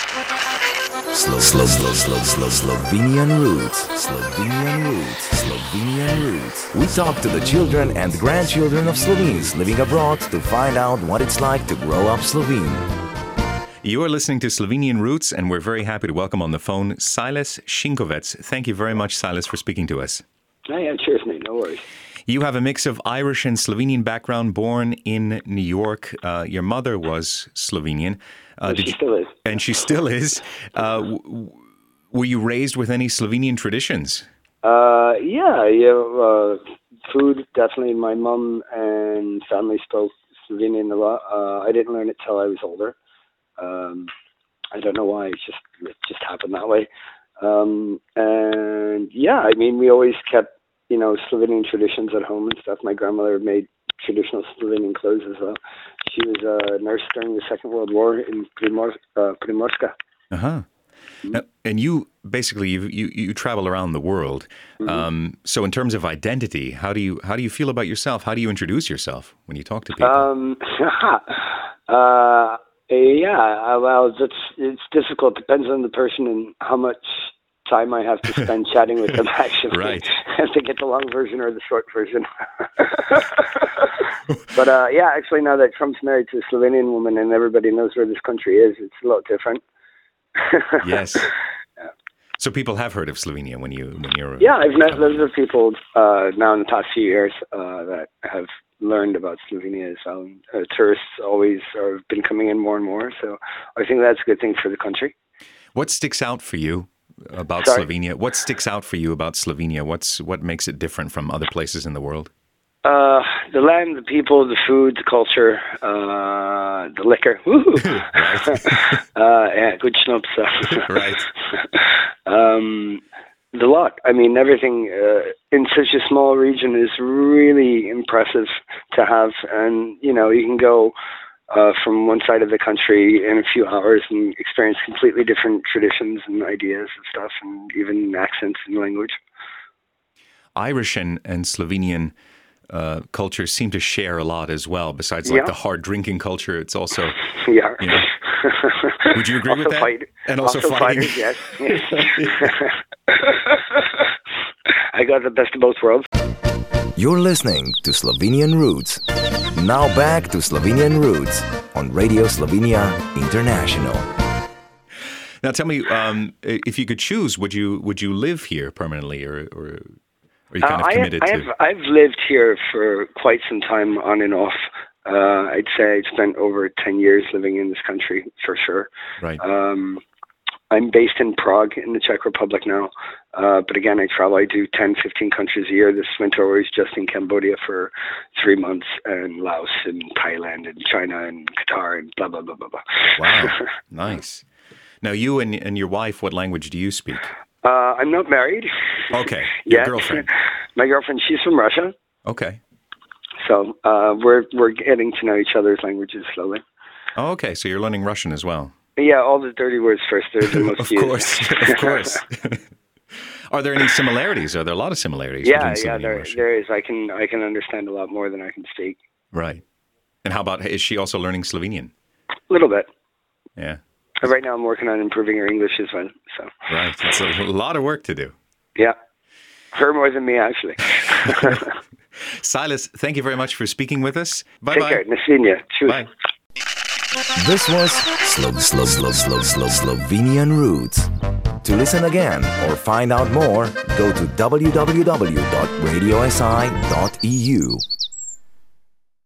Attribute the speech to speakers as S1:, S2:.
S1: Slow, slow, slow, slow, slow, Slovenian roots. Slovenian roots. Slovenian roots. We talk to the children and grandchildren of Slovenes living abroad to find out what it's like to grow up Slovene.
S2: You are listening to Slovenian Roots, and we're very happy to welcome on the phone Silas Shinkovets. Thank you very much, Silas, for speaking to us.
S3: Yeah, yeah, certainly, no worries.
S2: You have a mix of Irish and Slovenian background, born in New York. Uh, your mother was Slovenian. Uh, did
S3: she
S2: you-
S3: still is.
S2: and she still is. Uh, w- w- were you raised with any Slovenian traditions?
S3: Uh, yeah, yeah. Uh, food definitely. My mum and family spoke Slovenian a lot. Uh, I didn't learn it till I was older. Um, I don't know why. It just it just happened that way. Um, and yeah, I mean, we always kept you know Slovenian traditions at home and stuff. My grandmother made traditional Slovenian clothes as well. She was a nurse during the Second World War in Primor- uh, Primorska.
S2: Uh huh. Uh, And you basically you you, you travel around the world. Um, so in terms of identity, how do you how do you feel about yourself? How do you introduce yourself when you talk to people?
S3: Um, uh, yeah, uh, well, that's it's difficult. Depends on the person and how much time I have to spend chatting with them. Actually,
S2: Right.
S3: if they get the long version or the short version. but uh, yeah, actually, now that Trump's married to a Slovenian woman and everybody knows where this country is, it's a lot different.
S2: yes. So people have heard of Slovenia when you when you're
S3: Yeah, I've met loads of people uh, now in the past few years uh, that have learned about Slovenia as well. Uh, tourists always have been coming in more and more, so I think that's a good thing for the country.
S2: What sticks out for you about
S3: Sorry?
S2: Slovenia? What sticks out for you about Slovenia? What's what makes it different from other places in the world?
S3: Uh, the land, the people, the food, the culture, uh, the liquor. Woohoo! uh, yeah, good schnapps.
S2: Right.
S3: um, the lot. I mean, everything uh, in such a small region is really impressive to have, and you know, you can go uh, from one side of the country in a few hours and experience completely different traditions and ideas and stuff, and even accents and language.
S2: Irish and, and Slovenian uh, cultures seem to share a lot as well. Besides, like
S3: Yeah.
S2: the hard drinking culture, it's also.
S3: Yeah.
S2: Yeah. Would you agree
S3: also
S2: with that?
S3: Fight,
S2: And also fighting.
S3: fighters, yes. I got the best of both worlds.
S1: You're listening to Slovenian Roots. Now back to Slovenian Roots on Radio Slovenia International.
S2: Now, tell me, um, i- if you could choose, would you would you live here permanently, or or are you kind of
S3: Uh, I have,
S2: committed
S3: I
S2: to?
S3: have, I've lived here for quite some time, on and off. Uh, I'd say I've spent over 10 years living in this country for sure.
S2: Right.
S3: Um, I'm based in Prague in the Czech Republic now, uh, but again, I travel. I do 10, 15 countries a year. This winter, I was just in Cambodia for three months, and Laos, and Thailand, and China, and Qatar, and blah blah blah blah blah.
S2: Wow, nice. Now, you and and your wife, what language do you speak?
S3: Uh, I'm not married.
S2: Okay, your
S3: yet.
S2: girlfriend.
S3: My girlfriend, she's from Russia,
S2: Okay.
S3: so uh, we're we're getting to know each other's languages slowly.
S2: Oh, okay. So you're learning Russian as well.
S3: Yeah, all the dirty words first. They're the most
S2: Of
S3: used.
S2: course, of course. Are there any similarities? Are there a lot of similarities?
S3: yeah,
S2: between Slovenia
S3: yeah.
S2: and
S3: There,
S2: Russia?
S3: there is. I can I can understand a lot more than I can speak.
S2: Right. And how about is she also learning Slovenian?
S3: A little bit.
S2: Yeah.
S3: But Right now, I'm working on improving her English as well. So,
S2: Right. It's a lot of work to do.
S3: yeah, her more than me actually.
S2: Silas, thank you very much for speaking with us. Bye
S3: Take care,
S2: bye.
S3: Nasinya. Cheers.
S2: Bye.
S1: This was Slo- Slo- Slo- Slo- Slo- Slovenian Roots. To listen again or e find out more, go to www.radiosi.eu.